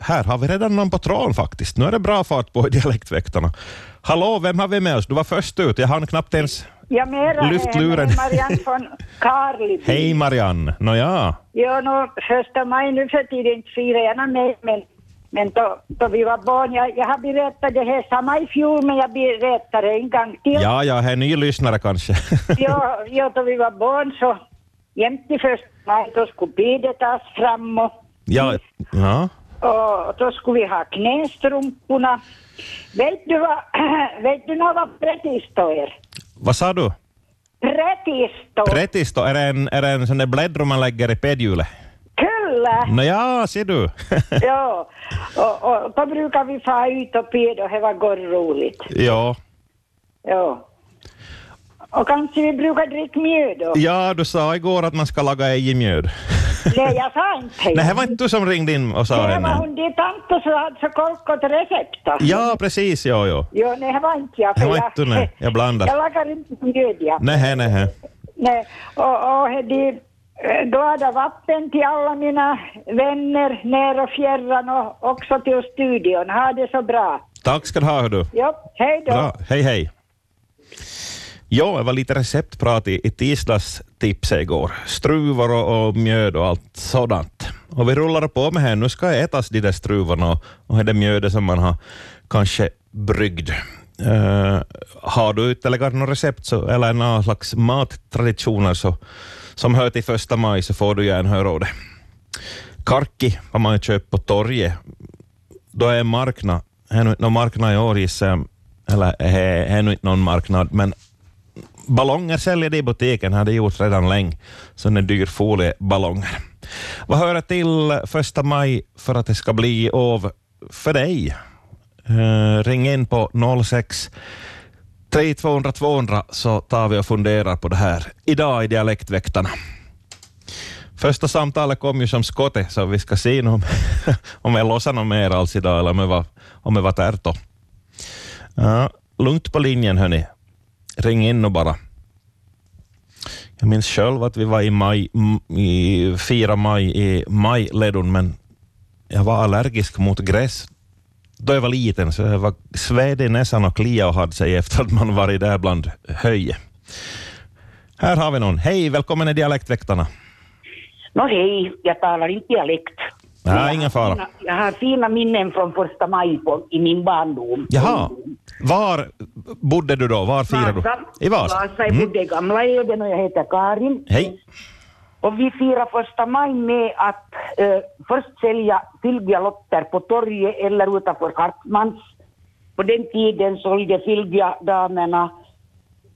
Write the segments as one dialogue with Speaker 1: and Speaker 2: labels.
Speaker 1: här har vi redan någon på tråden faktiskt. Nu är det bra fart på i dialektväktarna. Hallå, vem har vi med oss? Du var först ut. Jag hann knappt ens...
Speaker 2: Jag menar
Speaker 1: Lyft luren.
Speaker 2: Marianne från Karleby.
Speaker 1: Hej Marianne! Nåja,
Speaker 2: Ja, nå, första maj nu för tiden firar jag nog med, men, men då, då vi var barn, jag, jag har berättat det här samma i fjol, men jag berättar det en gång till.
Speaker 1: ja, ja, här är ny lyssnare kanske.
Speaker 2: ja, ja, då vi var barn så jämt i första maj då skulle bidet tas fram och,
Speaker 1: ja, ja.
Speaker 2: och då skulle vi ha knästrumporna. Vet du vad, vet du nå vad prettisto är?
Speaker 1: Vad sa du?
Speaker 2: Prettisto?
Speaker 1: Pretisto, är det en, är det en sån där bläddro man lägger i pedhjulet?
Speaker 2: Kyllä!
Speaker 1: Nåja, ser du.
Speaker 2: Ja, och, och då brukar vi få ut och peda och det var gott roligt.
Speaker 1: ja.
Speaker 2: Ja. Och kanske vi brukar dricka mjöd då.
Speaker 1: ja, du sa igår att man ska laga ej i mjöd.
Speaker 2: Nej, jag sa inte
Speaker 1: Nej, det var inte du som ringde in och sa
Speaker 2: Det var
Speaker 1: henne.
Speaker 2: hon din tant som hade så korkat recept. då.
Speaker 1: Ja, precis, ja, ja.
Speaker 2: Ja, nej, det var inte jag. för
Speaker 1: Det var inte du, nej. Jag blandar.
Speaker 2: Jag lagar inte mjöd, ja.
Speaker 1: Nej, nej, nej.
Speaker 2: Nej, och, och de glada vatten till alla mina vänner när och fjärran och också till studion. Ha det så bra.
Speaker 1: Tack ska du ha, hör du.
Speaker 2: Ja, hej då.
Speaker 1: Bra, hej hej. Ja, det var lite receptprat i, i tisdags tipset igår. Struvor och, och mjöd och allt sådant. Och vi rullar på med här. Nu ska det ätas de där struvorna och, och det mjödet som man har kanske bryggt. Eh, har du ytterligare några recept så, eller några slags mattraditioner så, som hör till första maj så får du gärna höra av det. Karkki har man ju köpt på torget då är marknad, här är nu inte någon marknad i år gissar jag. eller här här är nu inte någon marknad, men ballonger säljer de i butiken, hade gjorts redan länge, så är dyr folieballonger. Vad hör det till första maj för att det ska bli av för dig? Eh, ring in på 06 3200 200 så tar vi och funderar på det här idag i Dialektväktarna. Första samtalet kom ju som skottet, så vi ska se nu om, om jag låser något mer alls idag eller om jag var, om jag var tärto. Ja, lugnt på linjen hörni. Ring in och bara. Jag minns själv att vi var i maj, m- i 4 maj i majledon, men jag var allergisk mot gräs då jag var liten, så jag var sved i näsan och kliade och hade sig efter att man varit där bland höje. Här har vi någon. Hej, välkommen i Dialektväktarna.
Speaker 3: Nå hej, jag talar inte dialekt.
Speaker 1: Nej,
Speaker 3: Men jag
Speaker 1: ingen
Speaker 3: har
Speaker 1: fara.
Speaker 3: fina- Jag har fina minnen från första maj på, i min barndom.
Speaker 1: Jaha. Var bodde du då? Var firade du?
Speaker 3: Vasa.
Speaker 1: I Vasa.
Speaker 3: jag
Speaker 1: Mm.
Speaker 3: bodde i Gamla Eden och jag heter Karin.
Speaker 1: Hej.
Speaker 3: Och vi firar första maj med att eh, först sälja fylgiga lotter på torget eller utanför Hartmans. På den tiden sålde fylgiga damerna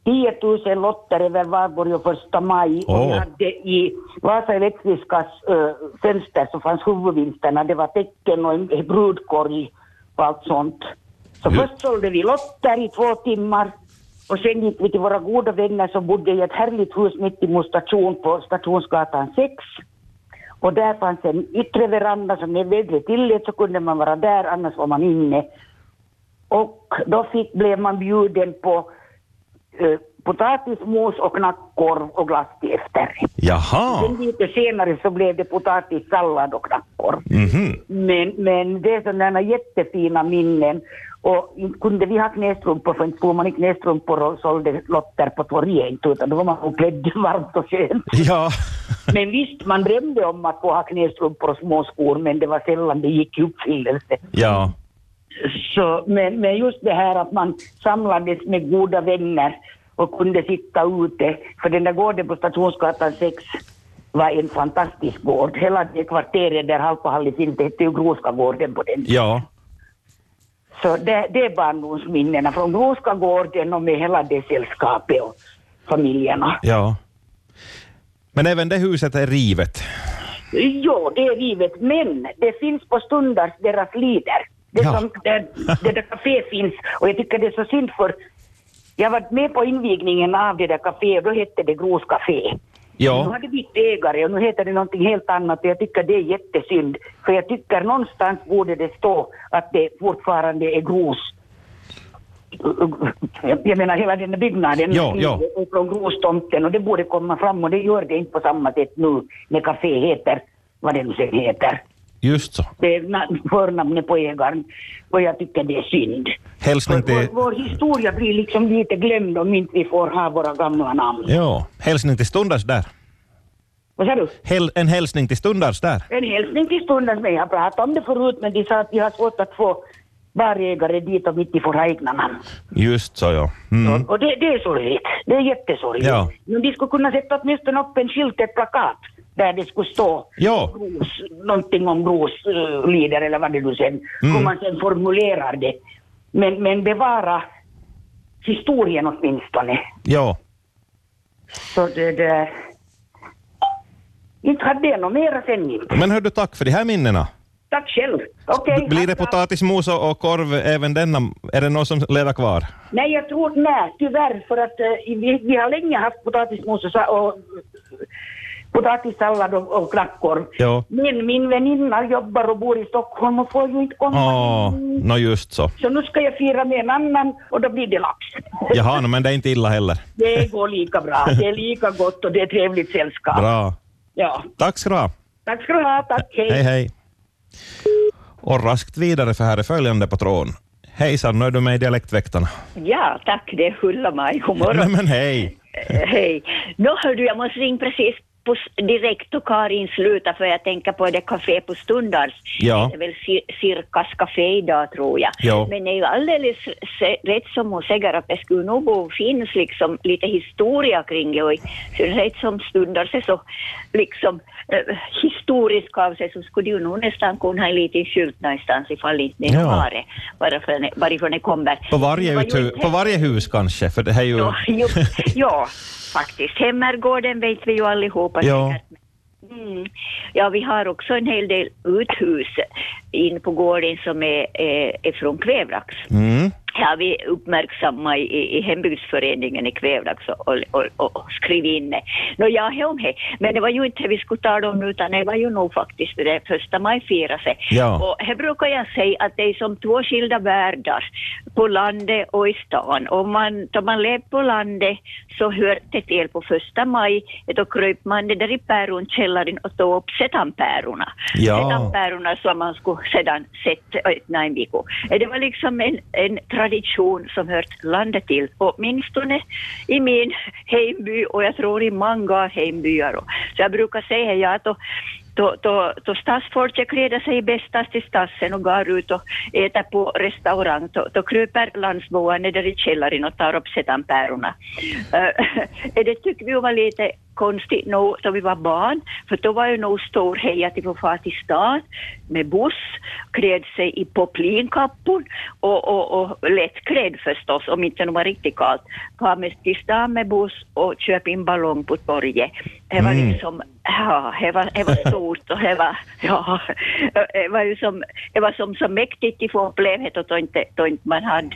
Speaker 3: 10 000 lotter över Valborg och första maj.
Speaker 1: Åh.
Speaker 3: Och vi hade i Vasa Elektrikas eh, fönster så fanns huvudvinsterna. Det var tecken och en brudkorg och allt sånt. Så
Speaker 1: Ju-
Speaker 3: först sålde vi lotter i två timmar och sen gick vi till våra goda vänner som bodde i ett härligt hus mitt emot station på Stationsgatan 6. Och där fanns en yttre veranda som är väldigt tillät så kunde man vara där annars var man inne. Och då fick, blev man bjuden på eh, potatismos och knackkorv och glass till efterrätt.
Speaker 1: Jaha.
Speaker 3: Sen lite senare så blev det potatissallad och knackkorv.
Speaker 1: Mhm.
Speaker 3: Men, men det är sådana jättefina minnen. Och inte kunde vi ha knästrumpor, för inte stod man i knästrumpor och sålde lotter på torget, inte, utan då var man nog klädd varmt och skönt.
Speaker 1: Ja.
Speaker 3: Men visst, man drömde om att få ha knästrumpor och småskor, men det var sällan det gick i uppfyllelse.
Speaker 1: Ja.
Speaker 3: Så, men, men just det här att man samlades med goda vänner och kunde sitta ute. För den där gården på Stationsgatan 6 var en fantastisk gård. Hela det kvarteret där Halpahallis inte hette ju Groskagården på den
Speaker 1: Ja.
Speaker 3: så det, det är barndomsminnena från Groskagården och med hela det sällskapet och familjerna.
Speaker 1: Ja. Men även det huset är rivet.
Speaker 3: Jo, det är givet, men det finns på stundars deras lider. Det,
Speaker 1: Ja.
Speaker 3: som, det, det där café finns och jag tycker det är så synd för jag var med på invigningen av det där caféet och då hette det Gros Café. Nu
Speaker 1: Ja.
Speaker 3: har det blivit ägare och nu heter det någonting helt annat och jag tycker det är jättesynd. För jag tycker någonstans borde det stå att det fortfarande är Gros. Jag menar hela den här byggnaden
Speaker 1: Ja, ja.
Speaker 3: är från Grostomten och det borde komma fram och det gör det inte på samma sätt nu när café heter vad det nu sen heter.
Speaker 1: Just så.
Speaker 3: Det är na- förnamnet på ägaren och jag tycker det är synd.
Speaker 1: Hälsning
Speaker 3: Vår,
Speaker 1: till,
Speaker 3: vår historia blir liksom lite glömd om inte vi får ha våra gamla namn.
Speaker 1: ja, hälsning till stundars där.
Speaker 3: Vad sa du?
Speaker 1: Häl, en hälsning till stundars där.
Speaker 3: En hälsning till stunden, men jag pratade om det förut, men de sa att vi har svårt att få barägare dit om inte de får ha egna namn.
Speaker 1: Just så, ja. Mm.
Speaker 3: Och- Och det, det är sorgligt. Det är jättesorgligt.
Speaker 1: Ja.
Speaker 3: Men de skulle kunna sätta åtminstone upp en skylt, ett plakat, där det skulle stå
Speaker 1: Ja,
Speaker 3: Gros, någonting om groslider eller vad det nu sen,
Speaker 1: Mm.
Speaker 3: hur man sen formulerar det. Men, men bevara historien åtminstone.
Speaker 1: ja.
Speaker 3: Så det, det... Inte hade jag något mera sen inte.
Speaker 1: Men hördu, tack för de här minnena.
Speaker 3: Tack själv. Okej.
Speaker 1: B- Blir det
Speaker 3: tack.
Speaker 1: potatismos och och korv även denna? Är det någon som lever kvar?
Speaker 3: Nej, jag tror nej, tyvärr, för att eh, vi, vi har länge haft potatismos och, sa- och potatissallad och, och knackkorv.
Speaker 1: Ja.
Speaker 3: Men min väninna jobbar och bor i Stockholm och får ju inte komma.
Speaker 1: Åh,
Speaker 3: hit.
Speaker 1: nå just så.
Speaker 3: Så nu ska jag fira med en annan och då blir det lax.
Speaker 1: Jaha, nå, men det är inte illa heller.
Speaker 3: Det går lika bra. Det är lika gott och det är trevligt sällskap.
Speaker 1: Bra.
Speaker 3: Ja.
Speaker 1: Tack ska du ha.
Speaker 3: Tack ska du ha. Tack.
Speaker 1: Hej, hej. Och raskt vidare, för här är följande på tråden. Hejsan, nu är du med i Dialektväktarna.
Speaker 4: Ja, tack. Det är Ulla-Maj. God
Speaker 1: Nej,
Speaker 4: morgon.
Speaker 1: men hej.
Speaker 4: Eh, Hej. Nå, hördu, jag måste ringa precis på, s- direkt och Karin sluta för jag tänker på det café på Stundars.
Speaker 1: Ja.
Speaker 4: Det är väl cir- Cirkas café idag, tror jag.
Speaker 1: Ja.
Speaker 4: Men det är ju alldeles se- rätt som hon säger att det skulle nog bo- finns liksom lite historia kring det och i synnerhet som Stundars är så liksom eh, historisk av sig så skulle det ju nog nästan kunna ha en liten skylt någonstans ifall inte ni
Speaker 1: Ja.
Speaker 4: har det, varifrån, varifrån det kommer.
Speaker 1: På
Speaker 4: Det
Speaker 1: varje,
Speaker 4: var ju
Speaker 1: uthu-
Speaker 4: inte
Speaker 1: på varje hus kanske, för det här är ju...
Speaker 4: Ja, jo, ja, faktiskt. Hemmergården vet vi ju allihopa
Speaker 1: Ja.
Speaker 4: säkert. Mm. Ja, vi har också en hel del uthus in på gården som är, är, är från Kvävlax.
Speaker 1: Mm.
Speaker 4: Här har vi uppmärksamma i, i- i hembygdsföreningen i Kvävlax och, och, och, och skrivit in det. Nå, ja, he om he. Men det var ju inte det vi skulle tala om utan det var ju nog faktiskt det första maj fira sig.
Speaker 1: Ja.
Speaker 4: Och här brukar jag säga att det är som två skilda världar på landet och i stan. Om man, då man lever på landet så hör det till på första maj, då kryper man ner där i päronkällaren och tar upp setanpärorna.
Speaker 1: Ja.
Speaker 4: Setanpärorna som man skulle sedan sätta öppna en vecka. Det var liksom en, en tradition som hört landet till, åtminstone i min hemby och jag tror i många hembyar. också. Så jag brukar säga ja, då, då, då, då stadsfolket klädde sig bästast i stassen och går ut och äter på restaurang, då, då kryper landsboarna där i källaren och tar upp setanpärorna. Eh, det tyckte vi var lite konstigt nog då vi var barn, för då var ju nog stor heja till att få fara till stan med buss, klädd sig i poplinkappor och, och, och lättklädd förstås, om inte det var riktigt kallt. Far med till stan med buss och köpa in ballong på torget. Det var
Speaker 1: Mm.
Speaker 4: liksom, ja, det var, det var stort och det var, ja, det var ju som, det var som så mäktigt att få uppleva det och då inte, då inte man hade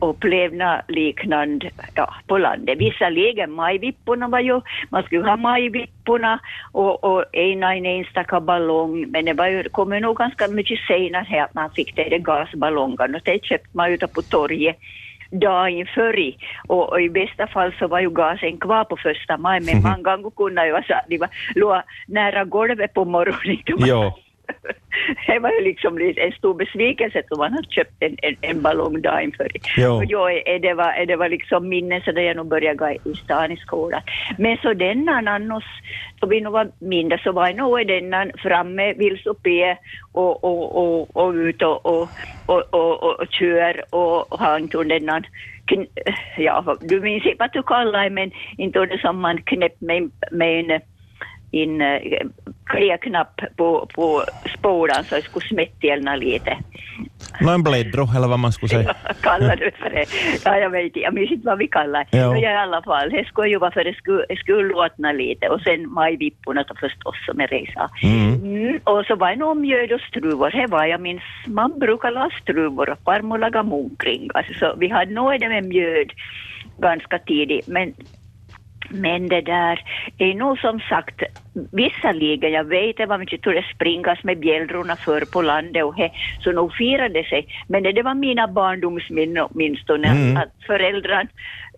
Speaker 4: upplevna liknande ja, på landet. Visserligen majvipporna var ju, man skulle ha majvipporna och, och ena en enstaka ballong, men det var ju, kom ju nog ganska mycket senare här att man fick det, i de gasballongerna och det köpte man ute på torget dagen före. i. Och, och i bästa fall så var ju gasen kvar på första maj, men många gånger kunde ju vara så att de var, låg nära golvet på morgonen. då man-
Speaker 1: Ja.
Speaker 4: det var ju liksom lite en stor besvikelse att man hade köpt en, en, en ballong dagen före.
Speaker 1: Ja.
Speaker 4: Och då är det, var, är det var liksom minnen så där jag nog började gå i stan i skolan. Men så denna annars, då vi nog var mindre så var jag nog i denna framme, vill supé och, och, och, och ut och, och, och, och, och, och kör och, och han tog denna kn- ja, du minns inte vad du kallar det, men inte det som man knäpp med, med en eh, in eh, klädknapp på, på spolan så det skulle smättelna lite.
Speaker 1: Nå, en bläddro, eller vad man skulle säga.
Speaker 4: kallar du för det? Ja, jag vet inte. Jag minns inte vad vi kallar det.
Speaker 1: Ja.
Speaker 4: Men jag i alla fall, det skulle ju vara för det skulle, det skulle låtna lite. Och sen majvipporna då förstås, som jag redan sa.
Speaker 1: Mm.
Speaker 4: Mm, och så var det nog mjöd och struvor. Det var jag minns. Man brukar laga struvor och farmor laga munkring. Alltså, så vi hade nog det med mjöd ganska tidigt. Men Men det där är nog som sagt, visserligen, jag vet att man kunde springas med bjällrorna förr på landet och he, så nog firade sig. Men det, det var mina barndomsminnen åtminstone,
Speaker 1: Mm.
Speaker 4: att föräldrarna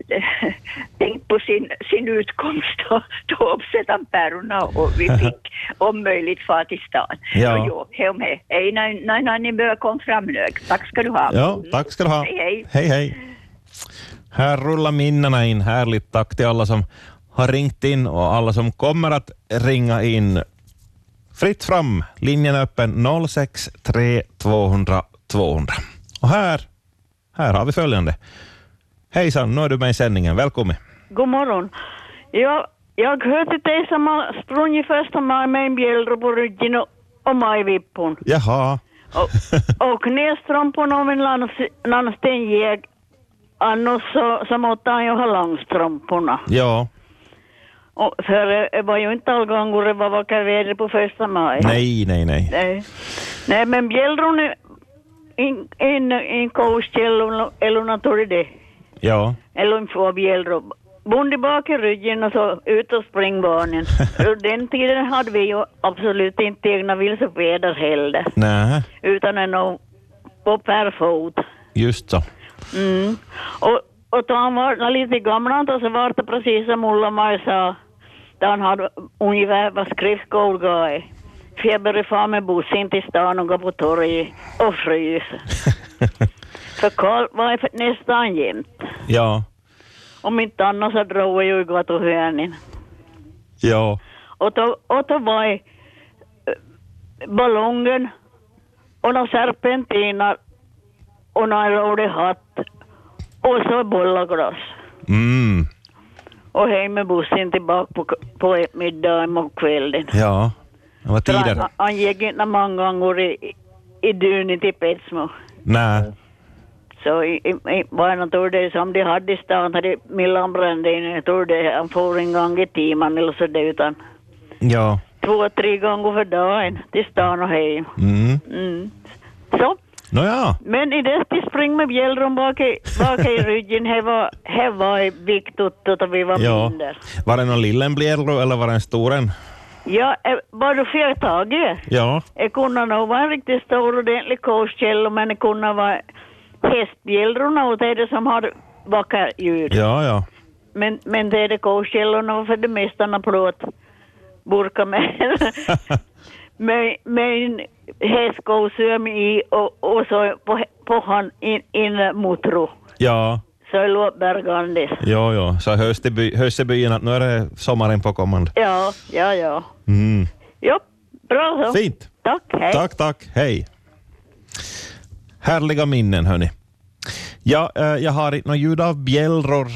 Speaker 4: eh, tänkte på sin, sin utkomst och tog upp sedan pärorna och vi fick om möjligt fara till stan.
Speaker 1: Ja.
Speaker 4: Så jo, he om he. Hej, nej, nej, nej, ni bör kom fram nu. Tack ska du ha.
Speaker 1: Ja, tack ska du ha.
Speaker 4: Mm. Hej,
Speaker 1: hej,
Speaker 4: hej.
Speaker 1: hej. Här rullar minnena in. Härligt tack till alla som har ringt in och alla som kommer att ringa in. Fritt fram. Linjen är öppen 063 200 200. Och här, här har vi följande. Hejsan, nu är du med i sändningen. Välkommen.
Speaker 5: God morgon. Jag, jag hör till dig som har sprungit första maj med en bjällra på ryggen och, och majvippon.
Speaker 1: Jaha.
Speaker 5: Och, och knästrumporna och min landstenjäg annars så, så måste han ju ha långstrumporna.
Speaker 1: Ja,
Speaker 5: Och för det var ju inte allgångar det var vackert väder på första maj.
Speaker 1: nej, nej, nej.
Speaker 5: Nej, Nej men bjällron är en, en, en kostkälla eller något av det.
Speaker 1: Ja,
Speaker 5: Eller en fårbjällra. Bonde bak i ryggen och så ut och spring barnen. Och den tiden hade vi ju absolut inte egna vilsefjädrar heller.
Speaker 1: nej,
Speaker 5: Utan en och- på per fot.
Speaker 1: just så.
Speaker 5: Mm. Och, och då han var när lite gammal då så var det precis som Ulla-Maj sa. Då han hade ungefär vad skriftskål gav. Feber i far med bussen till stan och gå på torget och frys. För Karl var ju nästan jämt.
Speaker 1: Ja,
Speaker 5: Om inte annat så drog jag ju i gatuhörnen.
Speaker 1: ja,
Speaker 5: Och då, och då var jag, eh, ballongen och några serpentiner och några rolig hatt och så bollaglass.
Speaker 1: mm,
Speaker 5: Och hem med bussen tillbaka på, på middagen och kvällen.
Speaker 1: ja. Det var
Speaker 5: För Han,
Speaker 1: tider.
Speaker 5: han gick inte många gånger i, i- i dunet till Petsmo.
Speaker 1: Nej,
Speaker 5: Så i, i, i, var någon tur det som de hade i stan, hade Millan brände in, jag tror det, han for en gång i timmen eller så det, utan
Speaker 1: ja.
Speaker 5: två, tre gånger för dagen till stan och hem.
Speaker 1: Mm.
Speaker 5: Mm. Så,
Speaker 1: Nåja,
Speaker 5: men i det till spring med bjällron bak i, bak i ryggen, här var, här var viktigt att vi var
Speaker 1: ja.
Speaker 5: mindre.
Speaker 1: Var det någon lillen bjällro eller var det en storen?
Speaker 5: Ja, eh, var du fel taget?
Speaker 1: Ja,
Speaker 5: Jag kunde nog vara en riktigt stor ordentlig korskälla, men det kunde vara hästbjällrorna och det är det som har vackra djur.
Speaker 1: ja, ja.
Speaker 5: Men, men det är det korskällorna och för det mesta några plåtburkar med, med, med en hästkosyöm i och, och så på, på han in, in motro.
Speaker 1: Ja,
Speaker 5: Så det låg bergandes.
Speaker 1: ja, ja. Så hörs i by- hörs i byn att nu är det sommaren på kommande.
Speaker 5: Ja, ja, ja.
Speaker 1: Mm.
Speaker 5: Jo, bra så.
Speaker 1: Fint.
Speaker 5: Tack, hej.
Speaker 1: Tack, tack. Hej. Härliga minnen, hörni. Ja, eh, jag har inte något ljud av bjällror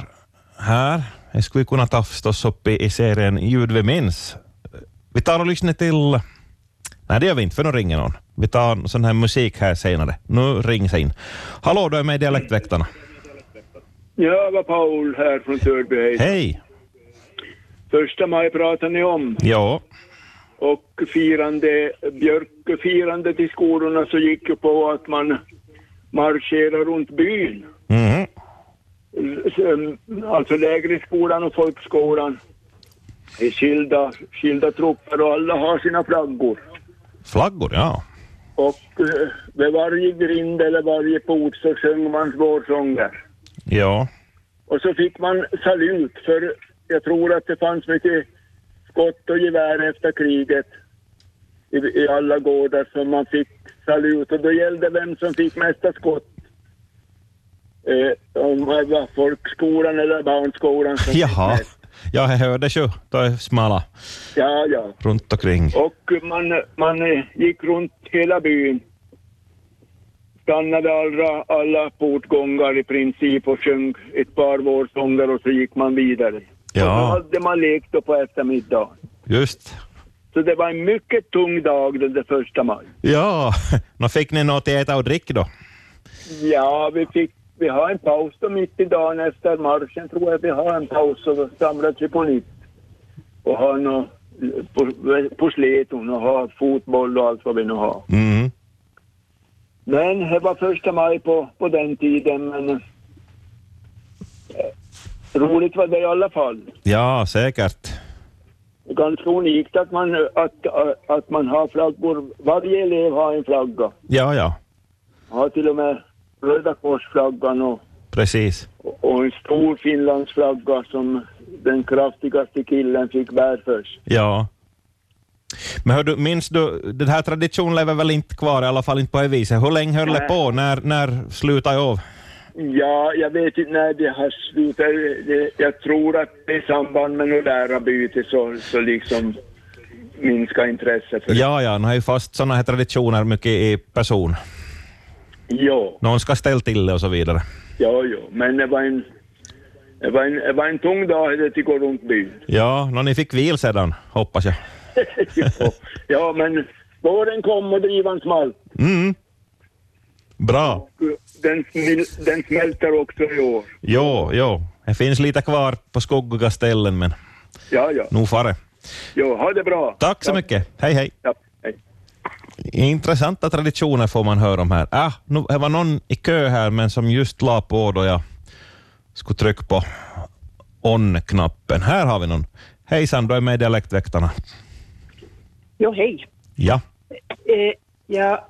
Speaker 1: här. Det skulle vi kunna ta förstås upp i, i serien Ljud vi minns. Vi tar och lyssnar till... Nej, det gör vi inte, för nu ringer någon. Vi tar sån här musik här senare. Nu rings in. Hallå, du är med i Dialektväktarna.
Speaker 6: Ja, det var Paul här från Törby. Hej.
Speaker 1: Hej!
Speaker 6: Första maj pratade ni om
Speaker 1: Ja,
Speaker 6: och firande, björkfirande till skolorna så gick ju på att man marscherar runt byn.
Speaker 1: mhm.
Speaker 6: Sen, Alltså lägre skolan och folkskolan i skilda, skilda trupper och alla har sina flaggor.
Speaker 1: flaggor, ja.
Speaker 6: Och eh, vid varje grind eller varje port så sjöng man vårsånger.
Speaker 1: Ja,
Speaker 6: Och så fick man salut för jag tror att det fanns mycket skott och gevär efter kriget i, i alla gårdar som man fick salut och då gällde vem som fick mesta skott. Eh, om det var folkskolan eller barnskolan som
Speaker 1: jaha.
Speaker 6: fick mest.
Speaker 1: Ja, jag hörde ju. Då är smala
Speaker 6: Ja, ja.
Speaker 1: runt omkring.
Speaker 6: Och man, man eh, gick runt hela byn. Stannade alla, alla portgångar i princip och sjöng ett par vårsånger och så gick man vidare. Och så
Speaker 1: Ja,
Speaker 6: hade man lekt då på eftermiddagen.
Speaker 1: just.
Speaker 6: Så det var en mycket tung dag den där första maj.
Speaker 1: Ja, nå fick ni något att äta och dricka då?
Speaker 6: Ja, vi fick vi har en paus då mitt i dagen efter marschen tror jag vi har en paus och då samlas vi på nytt. Och har nå på, på sleton och har fotboll och allt vad vi nu har.
Speaker 1: Mm.
Speaker 6: Men det var första maj på, på den tiden. Men eh,
Speaker 7: Roligt var det i alla fall.
Speaker 1: Ja, säkert.
Speaker 7: Det är ganska unikt att man, att, att man har flaggor. Varje elev har en flagga.
Speaker 1: Ja, ja,
Speaker 7: Man har till och med Röda korsflaggan och,
Speaker 1: precis.
Speaker 7: och en stor Finlandsflagga som den kraftigaste killen fick bär först.
Speaker 1: Ja. Men hör du, minns du, den här traditionen lever väl inte kvar, i alla fall inte på det viset. Hur länge höll det på? När, när slutade det av?
Speaker 7: Ja, jag vet inte när det har slutat. Det- Jag tror att det i samband med något lärarbyte så, så liksom minskar intresset för det.
Speaker 1: Ja, ja, nu är ju fast sådana här traditioner mycket i person.
Speaker 7: Ja,
Speaker 1: Någon ska ställa till det och så vidare.
Speaker 7: ja, ja. Men det var en, det var en, det var en tung dag det till gå runt byn.
Speaker 1: Ja, nå, ni fick vil sedan, hoppas jag.
Speaker 7: ja. ja, men våren kom och drivan smalt.
Speaker 1: Mm. Bra.
Speaker 7: Den, smil- den smälter också i år.
Speaker 1: Jo, jo. Det finns lite kvar på skuggiga ställen, men
Speaker 7: Ja, ja.
Speaker 1: nog fare.
Speaker 7: ja ha det bra.
Speaker 1: Tack så
Speaker 7: Ja,
Speaker 1: mycket. Hej, hej.
Speaker 7: Ja, hej.
Speaker 1: Intressanta traditioner får man höra om här. Ah, nu, det var någon i kö här, men som just la på då jag skulle trycka på on-knappen. Här har vi någon. Hejsan, du är med i Dialektväktarna.
Speaker 8: Jo, hej.
Speaker 1: Ja,
Speaker 8: Eh, ja,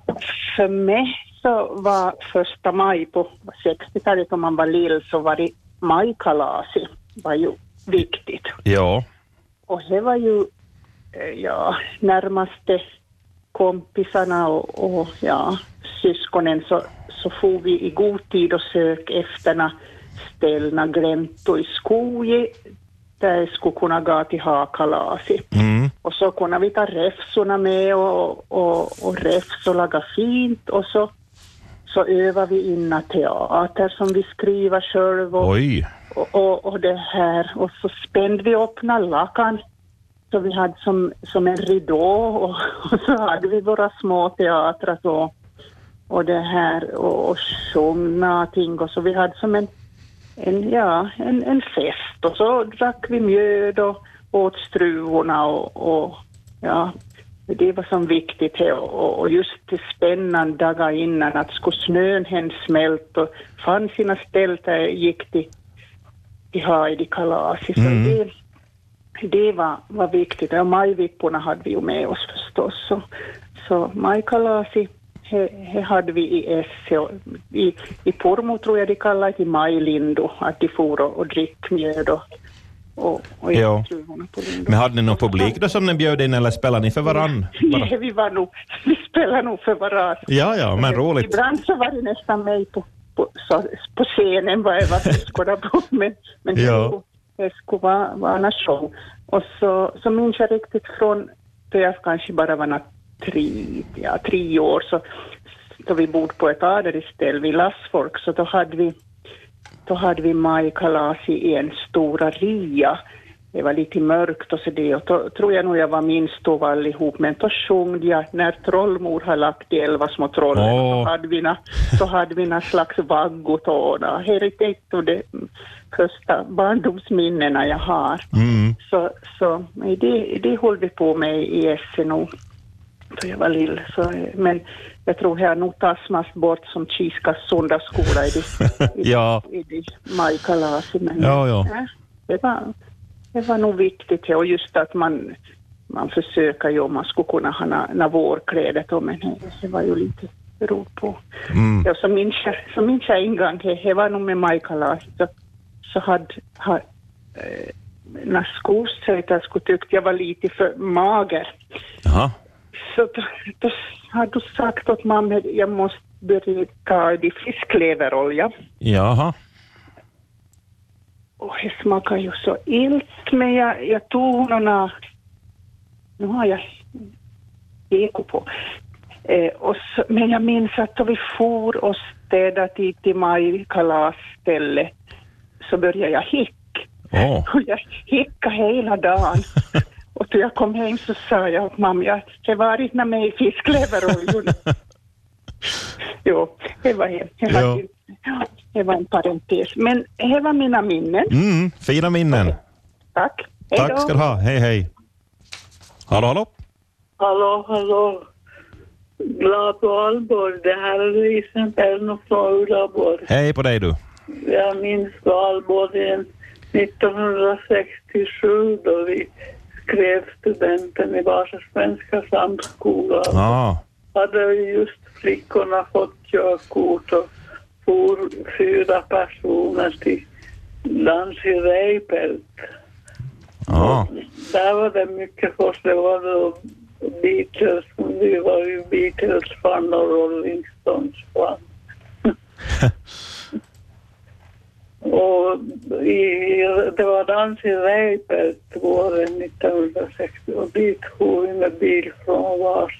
Speaker 8: för mig så var första maj på 60-talet, om man var lill, så var det majkalaset. var ju viktigt.
Speaker 1: ja,
Speaker 8: Och det var ju eh, ja, närmaste kompisarna och, och ja, syskonen så, så får vi i god tid och sök efter na ställna gläntor i skogen där skulle kunna gå till ha kalaset.
Speaker 1: mm,
Speaker 8: Och så kunde vi ta räfsorna med och, och, och räfs och laga fint och så, så övade vi inna teater som vi skriver själv och,
Speaker 1: oj,
Speaker 8: och, och, och det här. Och så spände vi upp na lakan så vi hade som, som en ridå och, och så hade vi våra små teatrar så. Och det här och, och sjöng någonting och så vi hade som en, en, ja, en, en fest och så drack vi mjöd och åt struvorna och, och ja, det var som viktigt här och, och just det spännande dagar innan att skulle snön hen smält och fann sina ställ där gick till, till Heidi-kalaset.
Speaker 1: Mm.
Speaker 8: Så det, det var, var viktigt. Och majvipporna hade vi ju med oss förstås. Så, så majkalasi he, he hade vi i Esse. och I, I Pormo tror jag de kallar det majlindo, att de for och, och drick mjöd och, och, och
Speaker 1: Ja.
Speaker 8: åt druvorna på lindo.
Speaker 1: Men hade ni någon publik då som ni bjöd in eller spelade ni för varann? Bara?
Speaker 8: Nej, vi var nog, vi spelade nog för varandra.
Speaker 1: Ja, ja, men roligt.
Speaker 8: Ibland så var det nästan mig på, på, så, på scenen vad jag var skådad på. Men, men
Speaker 1: Ja.
Speaker 8: ja. det skulle vara, vara en show. Och så, så minns jag riktigt från då jag kanske bara var na tre, ja, tre år så då vi bodde på ett adelställe vid Lassfolk så då hade vi då hade vi majkalas i en stora ria. Det var lite mörkt och så det och då tror jag nog jag var minst av allihop men då sjöng jag när trollmor har lagt de elva små trollen
Speaker 1: Åh.
Speaker 8: så hade vi na, så hade vi na slags vaggotåna. Det är riktigt av de första barndomsminnena jag har.
Speaker 1: Mm,
Speaker 8: Så, så nej, det, det höll vi på med i SNO då jag var lill. Så, eh, Men jag tror här nog tasmas bort som Kiskas söndagsskola i det, i,
Speaker 1: Ja.
Speaker 8: i det majkalaset. Men
Speaker 1: Ja, ja.
Speaker 8: nej, Det, var, det var nog viktigt här. och just att man, man försöker ju om man skulle kunna ha na, na vårkläder då, men eh, det var ju lite beror på.
Speaker 1: mm.
Speaker 8: Ja, så minns jag, så minns jag en gång, det, det var nog med majkalaset, så, så hade, ha, eh, när skolsköterskan tyckte jag var lite för mager,
Speaker 1: Jaha.
Speaker 8: så då, då hade du sagt åt mamma att jag måste börja ta i fiskleverolja.
Speaker 1: Jaha.
Speaker 8: Och det smakar ju så illt, men jag, jag tog några... Nu har jag eko på. Eh, och så, men jag minns att då vi for och städade till, till majkalasstället så började jag hicka.
Speaker 1: Åh.
Speaker 8: Och jag hickade hela dagen. Och då jag kom hem så sa jag åt mamma, jag har varit med mig i fiskleveroljorna. jo, det var det. Det var,
Speaker 1: Ja.
Speaker 8: ja, det var en parentes. Men det var mina minnen.
Speaker 1: Mm, fina minnen.
Speaker 8: Tack. Hej då.
Speaker 1: Tack ska du ha. Hej, hej. Hallå, hallå.
Speaker 9: Hallå, hallå. Glad och Alborg. Det här är Lisen Perno från Ulaborg.
Speaker 1: Hej på dig du.
Speaker 9: Jag minns då Alborg en
Speaker 10: 1967 då vi skrev studenten i Vasa svenska samskola
Speaker 1: Ah,
Speaker 10: hade vi just flickorna fått körkort och for fyra personer till dans i Reipelt.
Speaker 1: ah.
Speaker 10: Där var det mycket folk. Det var då Beatles, vi var ju Beatles-fan och Rolling Stones-fan. och i, det var dans i Reipert våren 1960 och dit for vi med bil från Vasa.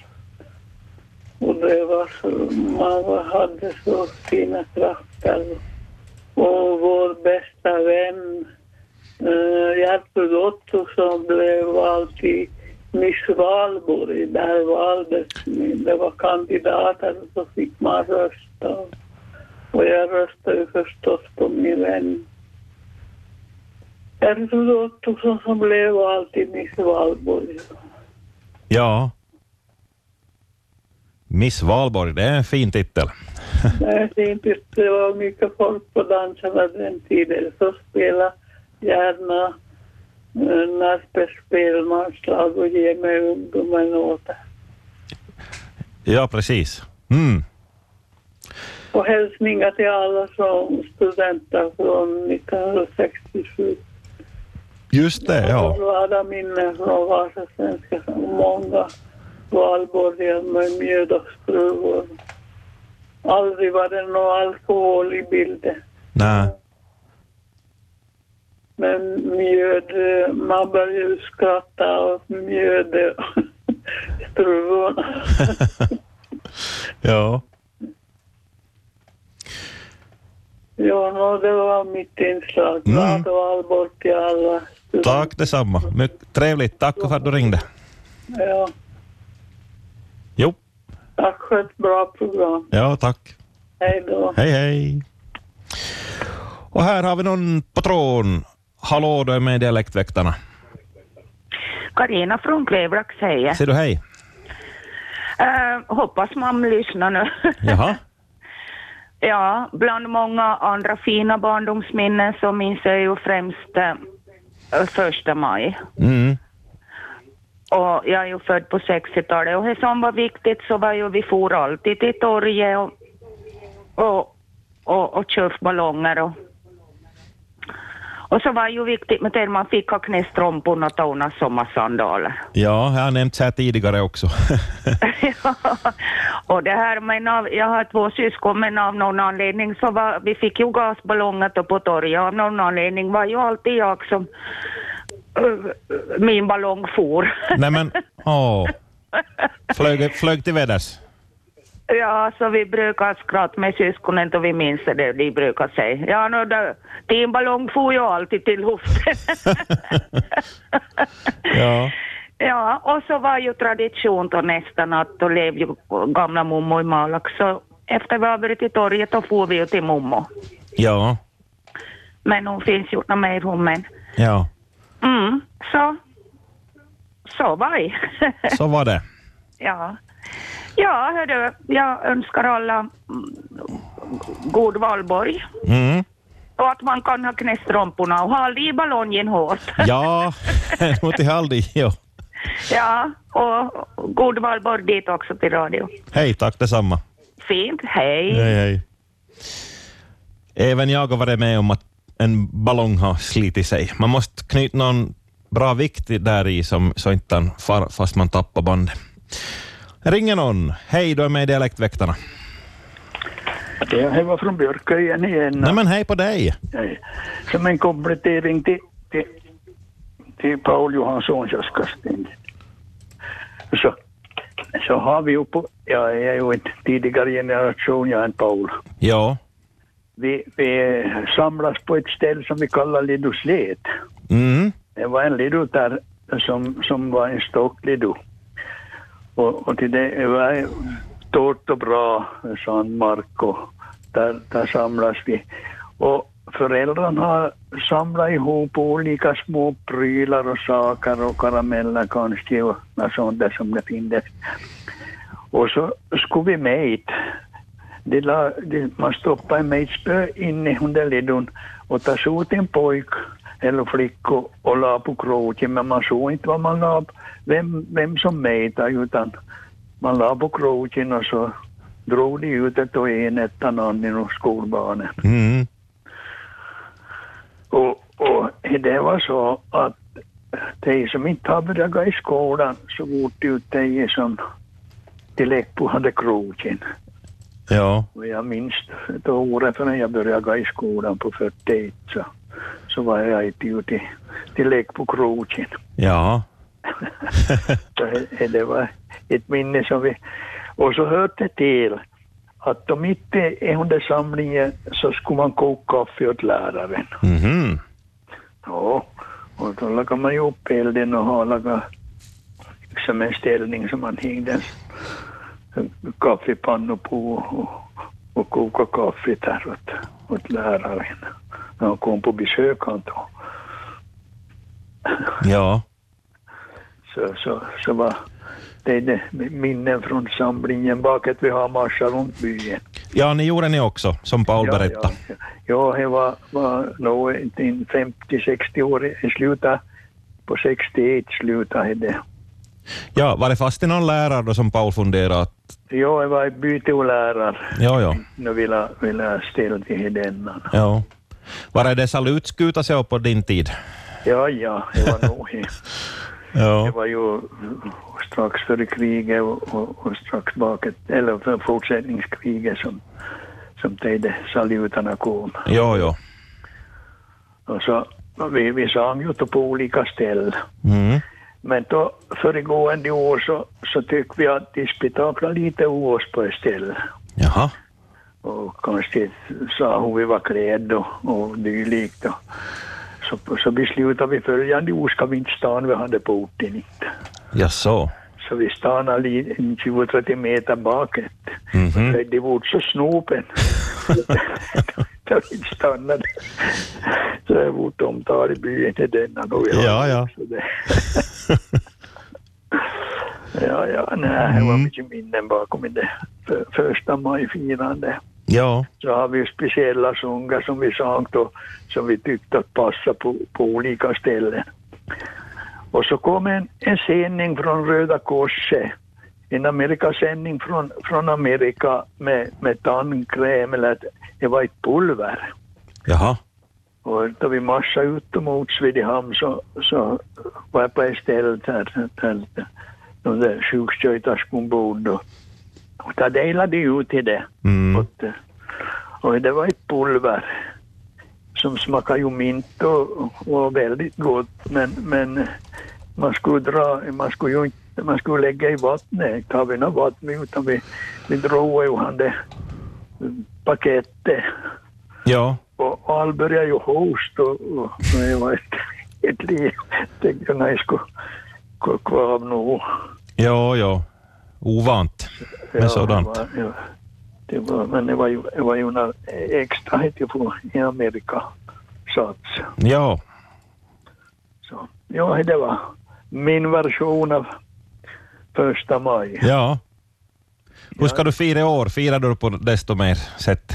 Speaker 10: Och det var så, man hade så fina trakter. Och vår bästa vän Uh, Gertrud Otto som blev vald till Miss Valborg, där valdes ni. Det var kandidater och så fick man rösta. Och jag röstade ju förstås på min vän. Gertrud Ottosson som blev vald till Miss Valborg.
Speaker 1: Ja. Miss Valborg, det är en fin titel.
Speaker 10: Nej, det, är inte, det var mycket folk på dansarna den tiden. Så spela gärna eh, Närpes spelmanslag och ge mig ungdomen åter.
Speaker 1: Ja, precis. Mm.
Speaker 10: Och hälsningar till alla som studenter från 1967.
Speaker 1: Just det, ja.
Speaker 10: Glada minnen från Vasa svenska. Många valborgar med mjöd och struvor. Aldrig var det någon alkohol i bilden.
Speaker 1: Nä.
Speaker 10: Men mjöd, eh, man började ju skratta åt mjöd och struvorna.
Speaker 1: ja.
Speaker 10: Ja, nå, det var mitt inslag.
Speaker 1: Mm.
Speaker 10: Glad och allvar till alla.
Speaker 1: Tack detsamma. Mycket trevligt. Tack för att du ringde.
Speaker 10: Ja,
Speaker 1: Jo,
Speaker 10: tack för ett bra program.
Speaker 1: ja tack.
Speaker 10: Hej då.
Speaker 1: Hej hej. Och här har vi någon på tråden. Hallå, du är med i Dialektväktarna.
Speaker 11: Karina från Klevlax säger.
Speaker 1: Ser du hej?
Speaker 11: Eh, hoppas man lyssnar nu.
Speaker 1: Jaha.
Speaker 11: ja, bland många andra fina barndomsminnen så minns jag ju främst eh, första maj.
Speaker 1: Mm.
Speaker 11: Och jag är ju född på 60-talet och det som var viktigt så var ju vi for alltid till torget och, och, och, och köpte ballonger och och så var ju viktigt med det man fick ha knästrumporna och ta undan sommarsandaler.
Speaker 1: Ja, jag har nämnts här tidigare också.
Speaker 11: Ja. och det här men av, jag har två syskon men av någon anledning så var, vi fick ju gasballonger då på torget av någon anledning var ju alltid jag som eh, min ballong for.
Speaker 1: Nej men, åh. Flög, flög till väders.
Speaker 11: Ja, så vi brukar skratta med syskonen då vi minns det de brukar säga. Ja, nu då, din ballong for ju alltid till luften.
Speaker 1: Ja.
Speaker 11: ja, och så var ju tradition då nästan att då levde ju gamla mommo i Malax så efter vi har varit i torget då for vi ju till mommo.
Speaker 1: Ja.
Speaker 11: Men hon finns ju inte mer hon men.
Speaker 1: Ja.
Speaker 11: Mm, så. Så var det.
Speaker 1: Så var det.
Speaker 11: ja. Ja, hördu, jag önskar alla mm, god valborg.
Speaker 1: Mm.
Speaker 11: Och att man kan ha knästrumporna och ha i ballongen hårt.
Speaker 1: Ja, mot i Haldi. Ja.
Speaker 11: Ja, och god valborg dit också till radio.
Speaker 1: Hej, tack detsamma.
Speaker 11: Fint, hej.
Speaker 1: hej. Även jag har varit med om att en ballong har slitit sig. Man måste knyta någon bra vikt i- där i som, så inte den far fast man tappar bandet. Ringer någon? Hej, du är med i Dialektväktarna.
Speaker 7: Det här var från Björkö igen igen.
Speaker 1: Nej men hej på dig!
Speaker 7: Nej. Som en komplettering till, till, till Paul Johanssons östkastning. Så, så har vi ju på, ja, jag är ju en tidigare generation, jag är en Paul.
Speaker 1: Ja.
Speaker 7: Vi, vi samlas på ett ställe som vi kallar Lidoslet.
Speaker 1: Mm.
Speaker 7: Det var en lidu där som, som var en stocklidu. Och, och till det var stort och bra sandmark och där, där samlas vi. Och föräldrarna har samlat ihop olika små prylar och saker och karameller kanske och något sånt där som det finns. Och så skulle vi med hit. De la, de, man stoppade med ett spö in i den ledun och tas ut en pojk eller flickor och la på kroken, men man såg inte vad man la, vem, vem som mätade, utan man la på kroken och så drog de ut ett och en, ett och annan ur skolbarnen.
Speaker 1: Mm.
Speaker 7: Och, och det var så att de som inte har börjat gå i skolan så fort ut de som de lekte på hade kroken.
Speaker 1: Ja.
Speaker 7: Och jag minns då året förrän jag började gå i skolan på 41 så, så var jag inte ute i- till lek på kroken.
Speaker 1: Ja.
Speaker 7: Så he- det var ett minne som vi... Och så hörde det till att om inte är under samlingen så skulle man koka kaffe åt läraren.
Speaker 1: Mhm.
Speaker 7: Ja, och då lagade man ju upp elden och har lagat liksom en ställning som man hängde en kaffepanna på och, och kokade kaffe där åt, åt läraren när han kom på besök han då.
Speaker 1: Ja.
Speaker 7: Så, så, så var det, det minnen från samlingen bakåt vi har marscher runt byn.
Speaker 1: Ja, ni gjorde ni också, som Paul berättade.
Speaker 7: Ja, det var, var nog inte en 50-60 år i slutet. På 61 slutade det.
Speaker 1: Ja, var det fast i någon lärare då som Paul funderade att...
Speaker 7: Ja, jag var byteolärare.
Speaker 1: Ja, ja.
Speaker 7: Nu vill jag, vill jag ställa till denna.
Speaker 1: ja. Var det det salutskuta sig upp på din tid?
Speaker 7: Ja, ja, det var nog det. Det
Speaker 1: Ja.
Speaker 7: var ju strax före kriget och, och, och strax bakåt, eller för fortsättningskriget som, som de där salutarna kom.
Speaker 1: Ja, ja.
Speaker 7: Och så, vi, vi sang ju då på olika ställen.
Speaker 1: Mm.
Speaker 7: Men då föregående år så, så tyckte vi att de spetaklade lite oss på ett ställe.
Speaker 1: Jaha.
Speaker 7: Och kanske sa hur vi var klädda och, och dylikt. Och så, så beslutade vi följande år ska vi inte stanna, vi hade på orten inte.
Speaker 1: Jaså.
Speaker 7: Så vi stannade li- en 20-30 meter bakåt.
Speaker 1: Mhm.
Speaker 7: Det vore så snopen. Då vi inte stannade. Så det vore omtal i byn till denna då. vi har-
Speaker 1: Ja, ja.
Speaker 7: Så det. ja, ja, nej, det
Speaker 1: Mm.
Speaker 7: var mycket minnen bakom i det för, första majfirande.
Speaker 1: Ja.
Speaker 7: Så har vi speciella sånger som vi sang då, som vi tyckte att passa på, på olika ställen. Och så kom en, en sändning från Röda Korset, en Amerikasändning från, från Amerika med, med tandkräm, eller ett- det var ett pulver.
Speaker 1: Jaha.
Speaker 7: Och då vi marschade ut mot Svedjehamn så, så var jag på ett ställe där, där, där de där sjuksköterskorna bodde. Och där delade de ut i det.
Speaker 1: Mm.
Speaker 7: Åt det. Och det var ett pulver som smakade ju mint och var väldigt gott men, men man skulle dra, man skulle ju inte, man skulle lägga i vattnet, ta vi något vatten utan vi, vi drog ju han det paketet
Speaker 1: Ja.
Speaker 7: och all började ju hosta och, och det var ett, ett liv. Tänkte jag, nej, jag skulle gå kvar nu.
Speaker 1: Ja, ja. Ovant med
Speaker 7: Ja,
Speaker 1: sådant.
Speaker 7: Det var, ja, det var, men det var ju, det var ju några extra hette på i Amerika sats.
Speaker 1: Ja.
Speaker 7: Så, ja, det var min version av första maj.
Speaker 1: Ja. Hur ska du fira i år? Firar du på desto mer sätt?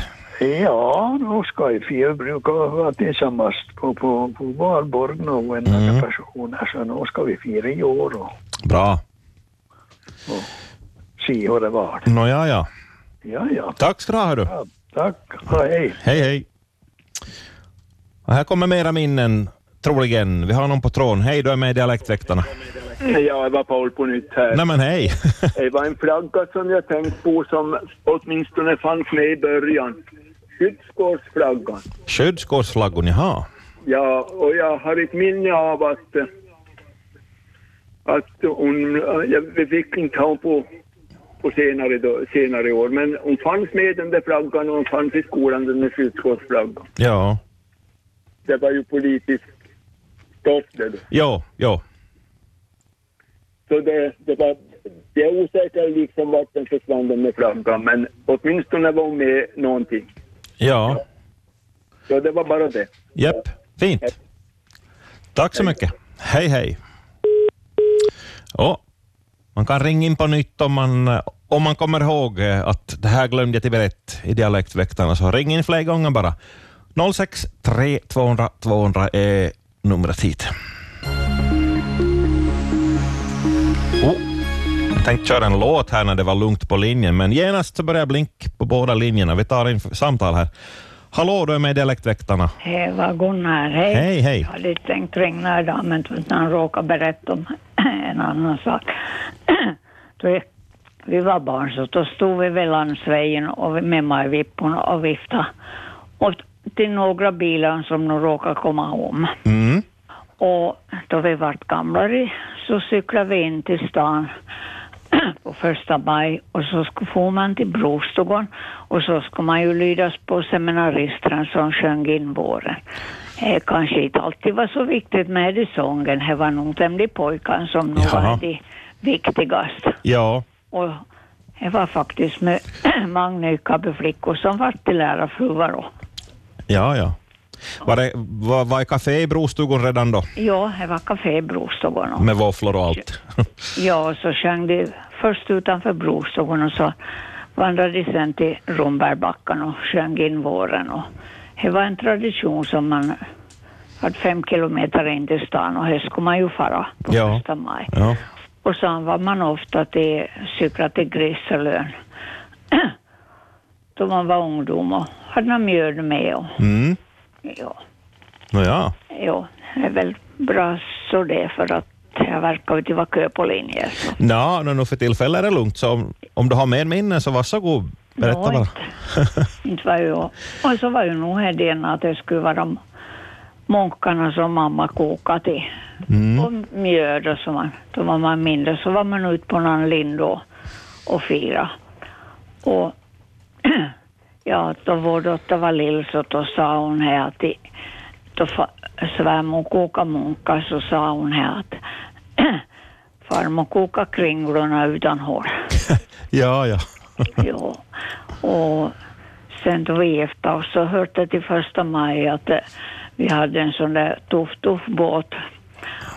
Speaker 7: Ja, nu ska jag fira. Jag brukar vara tillsammans på, på, på valborg nu, en mm. personer, så nu ska vi fira i år och
Speaker 1: Bra.
Speaker 7: se hur det var.
Speaker 1: Nå, ja, ja.
Speaker 7: Ja, ja.
Speaker 1: Tack ska du ha, hördu.
Speaker 7: ja tack och hej.
Speaker 1: Hej, hej. Och här kommer mera minnen, troligen. Vi har någon på tråden. Hej, du är med i Dialektväktarna.
Speaker 6: Ja, det var Paul på nytt här.
Speaker 1: Nej, men hej.
Speaker 6: Det var en flagga som jag tänkt på som åtminstone fanns med i början. Skyddskårsflaggan.
Speaker 1: Skyddskårsflaggon, jaha.
Speaker 6: Ja, och jag har ett minne av att, eh, att hon, eh, jag- vi fick inte ha hon på, på senare, då, senare år, men hon fanns med den där flaggan och hon fanns i skolan den där skyddskårsflaggan.
Speaker 1: Ja.
Speaker 6: Det var ju politiskt stopp det då.
Speaker 1: Jo, jo.
Speaker 6: Så det, det var, det är osäkert liksom vart den försvann den där flaggan, men åtminstone var hon med någonting.
Speaker 1: Ja.
Speaker 6: Så det var bara det.
Speaker 1: Japp. Fint. Tack så mycket. Hej, hej. Ja. Man kan ringa in på nytt om man, eh, om man kommer ihåg eh, att det här glömde jag till berätta i Dialektväktarna, så ring in fler gånger bara. 063 200 200 är numret hit. Oh. Jag tänkte köra en låt här när det var lugnt på linjen, men genast så börjar blink på båda linjerna. Vi tar in samtal här. Hallå, du är med i Dialektväktarna.
Speaker 12: Hej, Eh, vad Gunnar. Hej.
Speaker 1: Hej, hej.
Speaker 12: Jag hade tänkt ringa idag, men han råkade berätta om en annan sak. Då jag- vi var barn, så då stod vi vid landsvägen och vi- med majvipporna och viftade. Och till några bilar som nog råkade komma om.
Speaker 1: Mm.
Speaker 12: Och då vi vart gamlare så cyklade vi in till stan på första maj och så sk- for man till Brostugan och så ska man ju lydas på seminaristen som sjöng in våren. Det kanske inte alltid var så viktigt med i sången, det var nog den de pojkarna som nog
Speaker 1: Jaha.
Speaker 12: var de viktigaste.
Speaker 1: Ja,
Speaker 12: Och det var faktiskt med många flickor som var till lärarfruar då.
Speaker 1: ja, ja. Var, det, var, var café i Brostugan redan då?
Speaker 12: Ja, det var Café i Brostugan. och-
Speaker 1: Med våfflor och allt?
Speaker 12: Ja, och så sjöng de först utanför Brostugan och så vandrade de sen till Rombergbackan och sjöng in våren. Och det var en tradition som man hade fem kilometer in till stan och här skulle man ju fara på
Speaker 1: Ja.
Speaker 12: första maj.
Speaker 1: Ja.
Speaker 12: Och sen var man ofta till, cykla till Griselön då man var ungdom och hade några mjöl med. Och,
Speaker 1: Mm.
Speaker 12: ja,
Speaker 1: Nåja.
Speaker 12: ja, det är väl bra så det för att jag verkar ju inte vara kö på linjer. Så.
Speaker 1: Nå, nu för tillfället är det lugnt, så om, om du har mer minnen så varsågod, berätta
Speaker 12: Nå,
Speaker 1: bara.
Speaker 12: Inte var jag. Och så var ju nog idén att det skulle vara de munkarna som mamma kokade till.
Speaker 1: Mm.
Speaker 12: Och mjöd och så man, då var man mindre så var man ute på någon lind och, och fira. Och ja, då vår dotter var lill så då sa hon här att i- då fa- svärmor kokade munkar så sa hon här att farmor kokar kringlorna utan hår.
Speaker 1: Ja, ja.
Speaker 12: Ja, och sen då vi gifte oss så hörde jag till första maj att eh, vi hade en sån där tuff, tuff båt.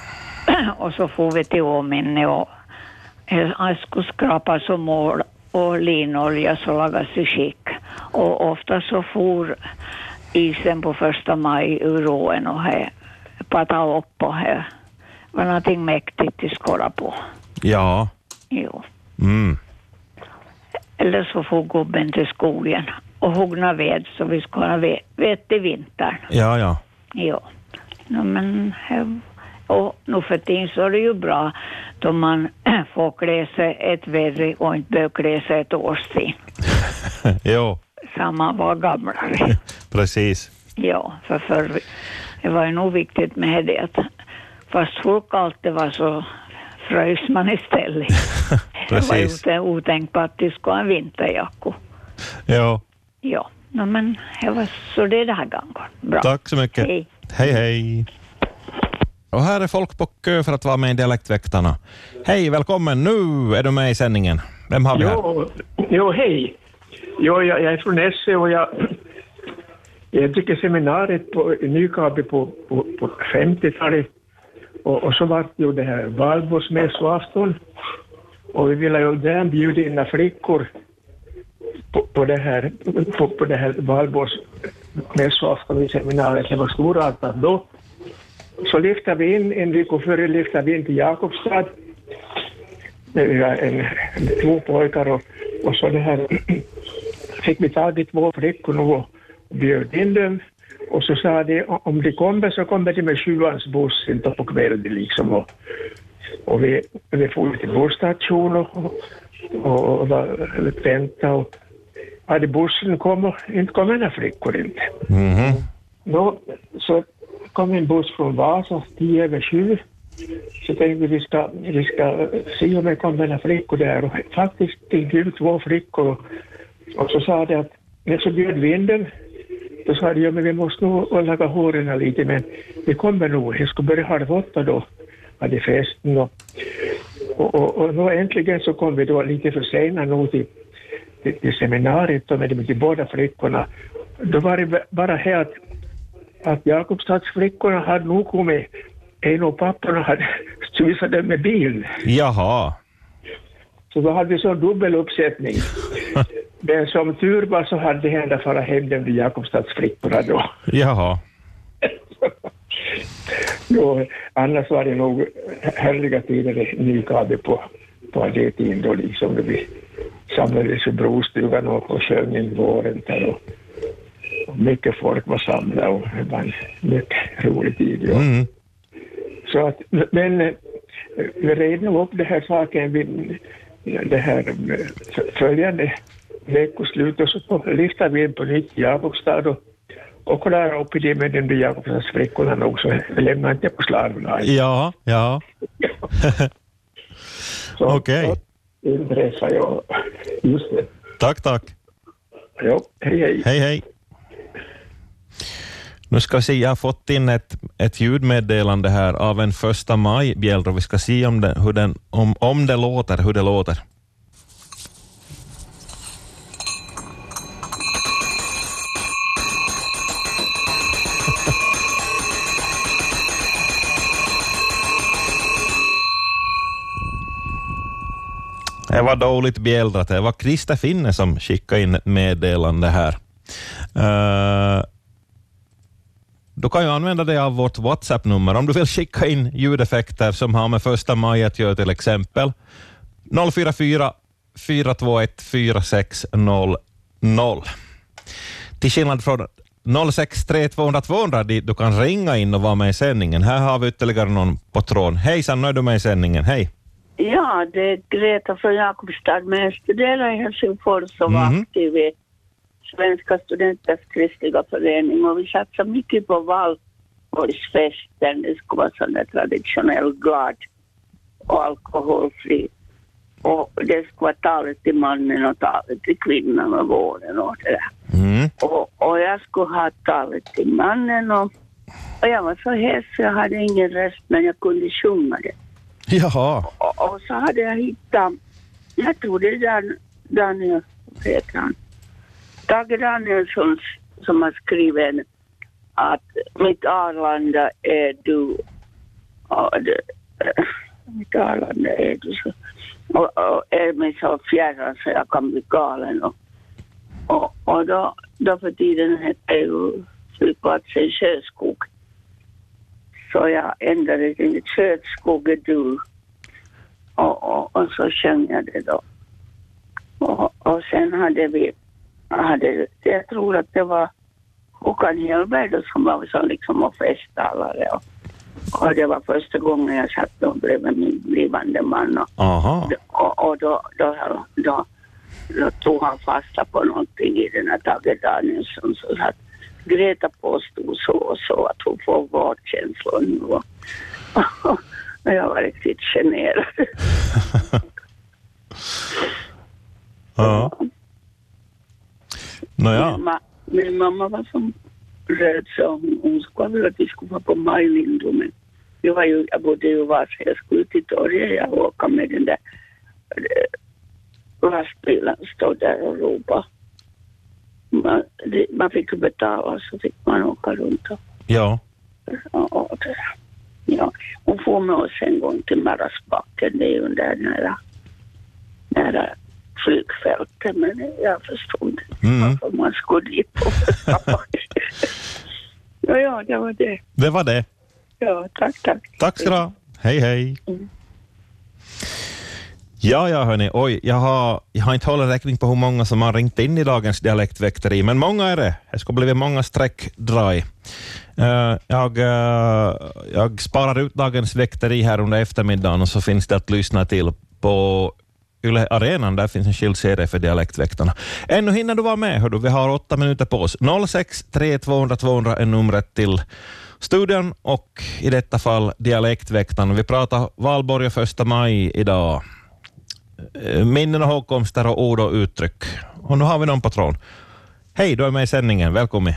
Speaker 12: och så får vi till Åminne och eh, jag skulle skrapa som mål och linolja så lagas i skick. Och ofta så for isen på första maj ur åen och här patta upp och här var någonting mäktigt att skåra på.
Speaker 1: Ja.
Speaker 12: Jo.
Speaker 1: Mm.
Speaker 12: Eller så får gubben till skogen och huggna ved så vi ska ha ve- vete i vintern.
Speaker 1: Ja, ja.
Speaker 12: Ja. No, men, he- och nu för tiden så är det ju bra då man får klä sig ett väder och inte behöver klä sig ett årstid.
Speaker 1: jo,
Speaker 12: Samma var gamlare.
Speaker 1: precis.
Speaker 12: Ja, för förr det var ju nog viktigt med det att fast folk alltid var så frös man istället. Det var ju
Speaker 1: Precis.
Speaker 12: otä- otänkbart att det skulle ha en vinterjacka.
Speaker 1: Ja.
Speaker 12: Ja, no, men det var så det den här gången. Bra.
Speaker 1: Tack så mycket.
Speaker 12: Hej.
Speaker 1: hej. hej. Och här är folk på kö för att vara med i Dialektväktarna. Hej, välkommen. Nu är du med i sändningen. Vem har vi här?
Speaker 13: Jo, jo hej. Jo, jag, jag är från Esse och jag, jag tycker seminariet på i Nykabi på, på, på 50-talet och, och så var det ju det här valborgsmässoafton och vi ville ju där bjuda in några flickor på, på det här, på, på det här valborgsmässoafton i seminariet. Det var storartat då. Så lyfte vi in, en vecka före lyfte vi in till Jakobstad det var en, två pojkar och, och så det här fick vi tag i två flickor och, och bjöd in dem och så sa de "O- om de kommer så kommer de med sjuans buss inte på kvällen liksom och, och vi, vi for till busstationen och, och, och var- väntade och hade bussen kommit, inte kom några flickor inte.
Speaker 1: Mhm.
Speaker 13: Nå, så kom en buss från Vasa, tio över sju. Så tänkte vi ska, vi ska se om det kommer några flickor där. Och faktiskt gick ut två flickor och så sa de att, när så bjöd vi in dem. Då sa de, ja men vi måste nog laga håren lite men vi kommer nog, jag ska börja halv åtta då. Hade festen och, och, och, och nu äntligen så kom vi då lite försenade nog till, till, till seminariet då med de till båda flickorna. Då var det bara här att att Jakobstadsflickorna hade nog kommit, en av papporna hade susat dem med bil.
Speaker 1: Jaha.
Speaker 13: Så då hade vi sån dubbel uppsättning. Men som tur var så hade det hända fara hem dem till Jakobstadsflickorna då.
Speaker 1: Jaha.
Speaker 13: Då, annars var det nog härliga tider i Nykabe på, på det tiden då liksom då vi samlades i brostugan och, och sjöng in våren där och, och mycket folk var samlade och det var en mycket rolig tid. Ja.
Speaker 1: Mm.
Speaker 13: Så att, men eh, vi red nog upp den här saken vid det här eh, följande veckoslut och så lyfte vi in på nytt i Jakobstad och, och klarade upp i det med de där Jakobstadsflickorna nog så vi lämnade inte på slarvna.
Speaker 1: Ja, ja. Okej.
Speaker 13: Det inträffade jag. Just det.
Speaker 1: Tack, tack.
Speaker 13: Ja, hej, hej.
Speaker 1: Hej, hej. Nu ska vi se, jag har fått in ett, ett ljudmeddelande här av en första maj bjällra. Vi ska se om det, hur den, om, om det låter, hur det låter. Det var dåligt bjällrat. Det var Krista Finne som skickade in ett meddelande här. Eh, du kan ju använda dig av vårt WhatsApp-nummer om du vill skicka in ljudeffekter som har med första maj att göra till exempel. 044 421 4600. Till skillnad från 063 200 200 dit du kan ringa in och vara med i sändningen. Här har vi ytterligare någon på tråden. Hejsan, nu är du med i sändningen. Hej!
Speaker 9: Ja, det är Greta från Jakobstad, men jag studerar i Helsingfors och var
Speaker 1: Mhm.
Speaker 9: aktiv i Svenska studenters kristliga förening och vi satsar mycket på valborgsfesten. Det skulle vara sån där traditionell glad och alkoholfri. Och det skulle vara talet till mannen och talet till kvinnan och vården och det där.
Speaker 1: Mm.
Speaker 9: Och, och jag skulle ha talet till mannen och, och jag var så hes så jag hade ingen röst men jag kunde sjunga det.
Speaker 1: Jaha.
Speaker 9: Och, och så hade jag hittat, jag tror det är Dan, Daniel, vad heter han? Tage Danielsson s- som har skrivit en, att mitt Arlanda är du. Och det, äh, mitt Arlanda är du. Så, och, och är mig så fjärran så jag kan bli galen. Och, och, och då, då för tiden hette ju flygplatsen Sjöskog. Så jag ändrade till mitt Sjöskog är du. Och, och, och så sjöng jag det då. Och, och sen hade vi, hade, jag tror att det var Håkan Hellberg då som var som liksom och festtalare. Och, och det var första gången jag satt då bredvid min blivande man. Och,
Speaker 1: Aha.
Speaker 9: och, och då, då, då, då tog han fasta på någonting i den här Tage Danielsson så att Greta påstod så och så att hon får vårdkänslor nu. Och, och jag var riktigt generad.
Speaker 1: Ja. Nåja.
Speaker 9: Min, ma- min mamma var som rädd så hon, hon skulle vilja att vi skulle vara på Majlindo men jag, var ju, jag bodde ju var så jag skulle till torget jag åka med den där eh, lastbilen stod där och ropa. Man, det- man fick ju betala så fick man åka runt och,
Speaker 1: Ja.
Speaker 9: och, och det. där. Ja. Hon får med oss en gång till Marasbacken, det är ju där nära, nära flygfältet men jag förstod inte
Speaker 1: Mm.
Speaker 9: om man skulle dit på Ja, ja, det var det.
Speaker 1: Det var det.
Speaker 9: Ja, tack, tack.
Speaker 1: Tack ska du ha. Hej, hej. Ja, ja, hörni. Oj, jag har, jag har inte hållit räkning på hur många som har ringt in i dagens dialektväkteri, men många är det. Det ska bli många streckdrag. Eh, jag, eh, jag sparar ut dagens väkteri här under eftermiddagen och så finns det att lyssna till på Yle Arenan. Där finns en skild serie för dialektväktarna. Ännu hinner du vara med. Hör du. Vi har åtta minuter på oss. 06 200 200 är numret till studion och i detta fall dialektväktarna. Vi pratar valborg och första maj idag. Eh, Minnen och hågkomster och ord och uttryck. Och nu har vi någon på tråden. Hej, du är med i sändningen. Välkommen.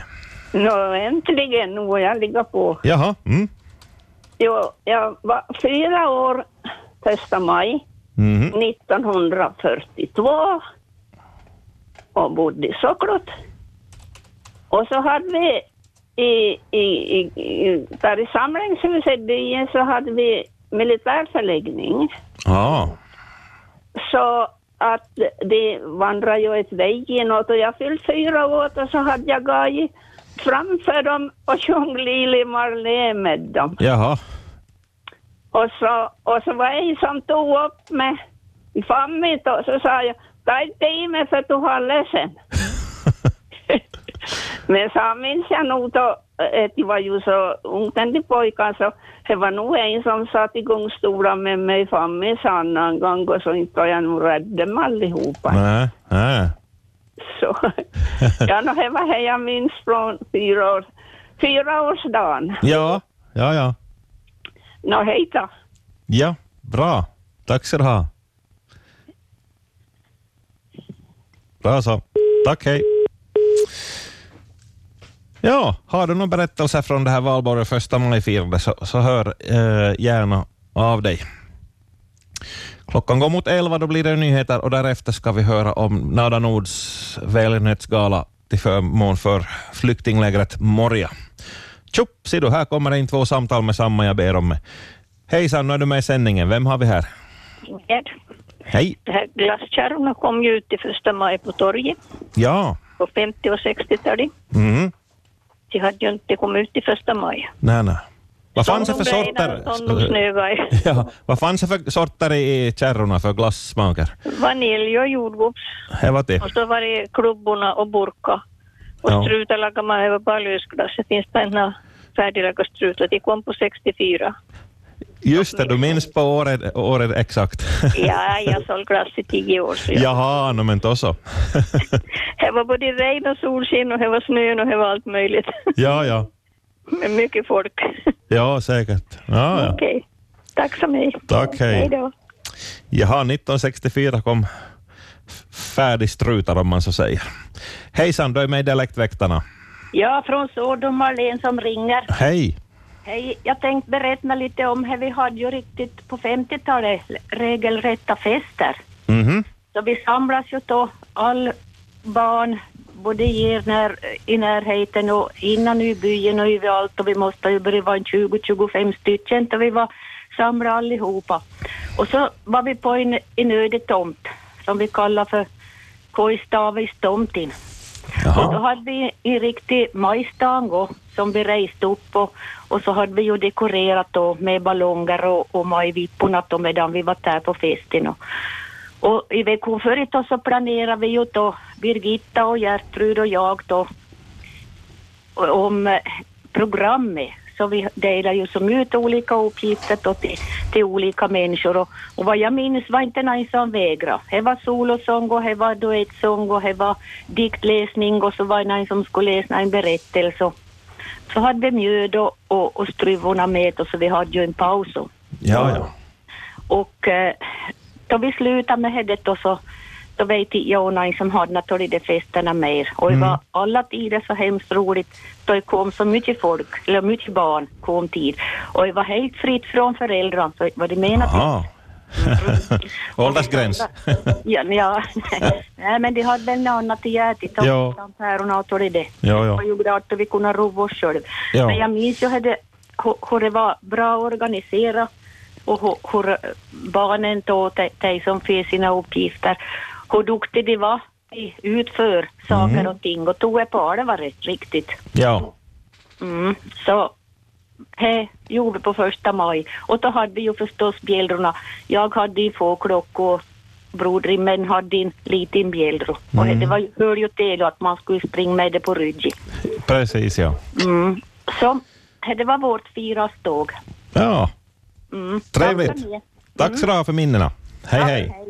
Speaker 14: Nå, äntligen, nu har jag ligga på.
Speaker 1: Jaha. Mm.
Speaker 14: Jo, jag var fyra år första maj
Speaker 1: Mhm.
Speaker 14: 1942 och bodde i Sockrot. Och så hade vi i, i, i, i, där i samlingshuset i byn så hade vi militärförläggning.
Speaker 1: Ja.
Speaker 14: Så att det vandrade ju ett väg inåt och jag fyllde fyra år och så hade jag gått i framför dem och sjöng Lili Marlene med dem.
Speaker 1: Jaha.
Speaker 14: Och så, och så var en som tog upp med i famnen och så sa jag, ta inte i mig för du har ledsen. Men så minns jag nog då, eh, att det var ju så ungt än de pojkar så det var nog en som satt i gångstolen med mig i famnen så annan gång och så inte var jag nog rädd dem allihopa.
Speaker 1: Nej, nej.
Speaker 14: Så, ja, no, det var det jag minns från fyra år, fyraårsdagen.
Speaker 1: Ja, ja, ja.
Speaker 14: Nå, hej då.
Speaker 1: Ja, bra. Tack ska du ha. Bra så. Tack, hej. Ja, har du någon berättelse från det här valborg och första maj-firandet så, så hör eh, gärna av dig. Klockan går mot elva, då blir det nyheter och därefter ska vi höra om Nada Nords välgörenhetsgala till förmån för flyktinglägret Moria. Tjopp, ser du, här kommer in två samtal med samma jag ber om. Hejsan, nu är du med i sändningen. Vem har vi här?
Speaker 15: Gerd.
Speaker 1: Hej.
Speaker 15: Det här glasskärrorna kom ju ut i första maj på torget
Speaker 1: Ja.
Speaker 15: på 50 och 60-talet.
Speaker 1: Mm.
Speaker 15: De hade ju inte kommit ut i första maj.
Speaker 1: Nej, nej. Vad fanns det för
Speaker 15: Som de
Speaker 1: sorter?
Speaker 15: regnade, som de snöade.
Speaker 1: Ja, vad fanns det för sorter i i kärrorna för glassmaker?
Speaker 15: Vanilj och jordgubbs.
Speaker 1: Det var det.
Speaker 15: Och så var det klubborna och burka. Och
Speaker 1: Ja.
Speaker 15: strutar lagade man över bara lösglass. Det finns bara några färdiglagade strutar. De kom på 64.
Speaker 1: Just det, du minns på året, året exakt.
Speaker 15: Ja, jag sålde glass i tio år. Så jag...
Speaker 1: Jaha, no, men då så.
Speaker 15: Det var både regn och solsken och det var snön och det var allt möjligt.
Speaker 1: Ja, ja.
Speaker 15: Med mycket folk.
Speaker 1: Ja, säkert. Ja, ja.
Speaker 15: Okej. Tack så mycket.
Speaker 1: Tack, hej.
Speaker 15: Hej då.
Speaker 1: Jaha, 1964 kom f- färdigstrutar om man så säger. Hejsan, du är med i Dialektväktarna.
Speaker 16: Ja, från Sodom Marlene som ringer.
Speaker 1: Hej.
Speaker 16: Hej, jag tänkte berätta lite om hur vi hade ju riktigt på 50-talet regelrätta fester.
Speaker 1: Mhm.
Speaker 16: Så vi samlas ju då, all barn, både i, när, i närheten och innan i byn och överallt och vi måste ju börja vara en 20-25 stycken så vi var samlade allihopa. Och så var vi på en, en öde tomt som vi kallar för Koistavis tomtin. Och då hade vi en riktig majstango som vi reste upp och, och så hade vi ju dekorerat då med ballonger och, och majvipporna då medan vi var där på festen. Och, och i veckan förut då så planerade vi ju då, Birgitta och Gertrud och jag då, och- om eh, programmet. Så vi delar ju som ut olika uppgifter då till, till olika människor. Och, och vad jag minns var inte någon som vägrade. Det var solosång och det var duettsång och det var diktläsning och så var det någon som skulle läsa en berättelse. Så hade vi mjöd och, och, och struvorna med och så vi hade ju en paus. Och,
Speaker 1: Ja, ja.
Speaker 16: och eh, då vi slutade med det då så då vet jag och någon som hade naturligt de festerna mer. Och det var alla tider så hemskt roligt. Då det kom så mycket folk, eller mycket barn kom tid. Och det var helt fritt från föräldrarna, så vad de menade.
Speaker 1: Jaha. Åldersgräns.
Speaker 16: Ja, men ja. Nej, men de hade väl något annat i hjärtat. De
Speaker 1: Ja.
Speaker 16: ja. päronen och tog det.
Speaker 1: Ja, ja.
Speaker 16: Det var ju glad att vi kunde roa oss själv.
Speaker 1: Ja.
Speaker 16: Men jag minns ju hur det, hur- hur det var bra organiserat och hur, hur barnen då, de, de som fick sina uppgifter, hur duktiga de var i utför saker
Speaker 1: Mm.
Speaker 16: och ting och tog på allvar riktigt.
Speaker 1: Ja.
Speaker 16: Mm. Så det gjorde på första maj. Och då hade vi ju förstås bjällrorna. Jag hade ju få klockor och brodrimmen hade en liten bjällra. Och
Speaker 1: Mm.
Speaker 16: det var, ju- hör ju till att man skulle springa med det på ryggen.
Speaker 1: Precis, ja.
Speaker 16: Mm. Så det var vårt Mm. firaståg.
Speaker 1: Ja,
Speaker 16: Mm.
Speaker 1: Trevligt.
Speaker 16: Tack för det.
Speaker 1: tack så du ha för minnena. Hej, hej.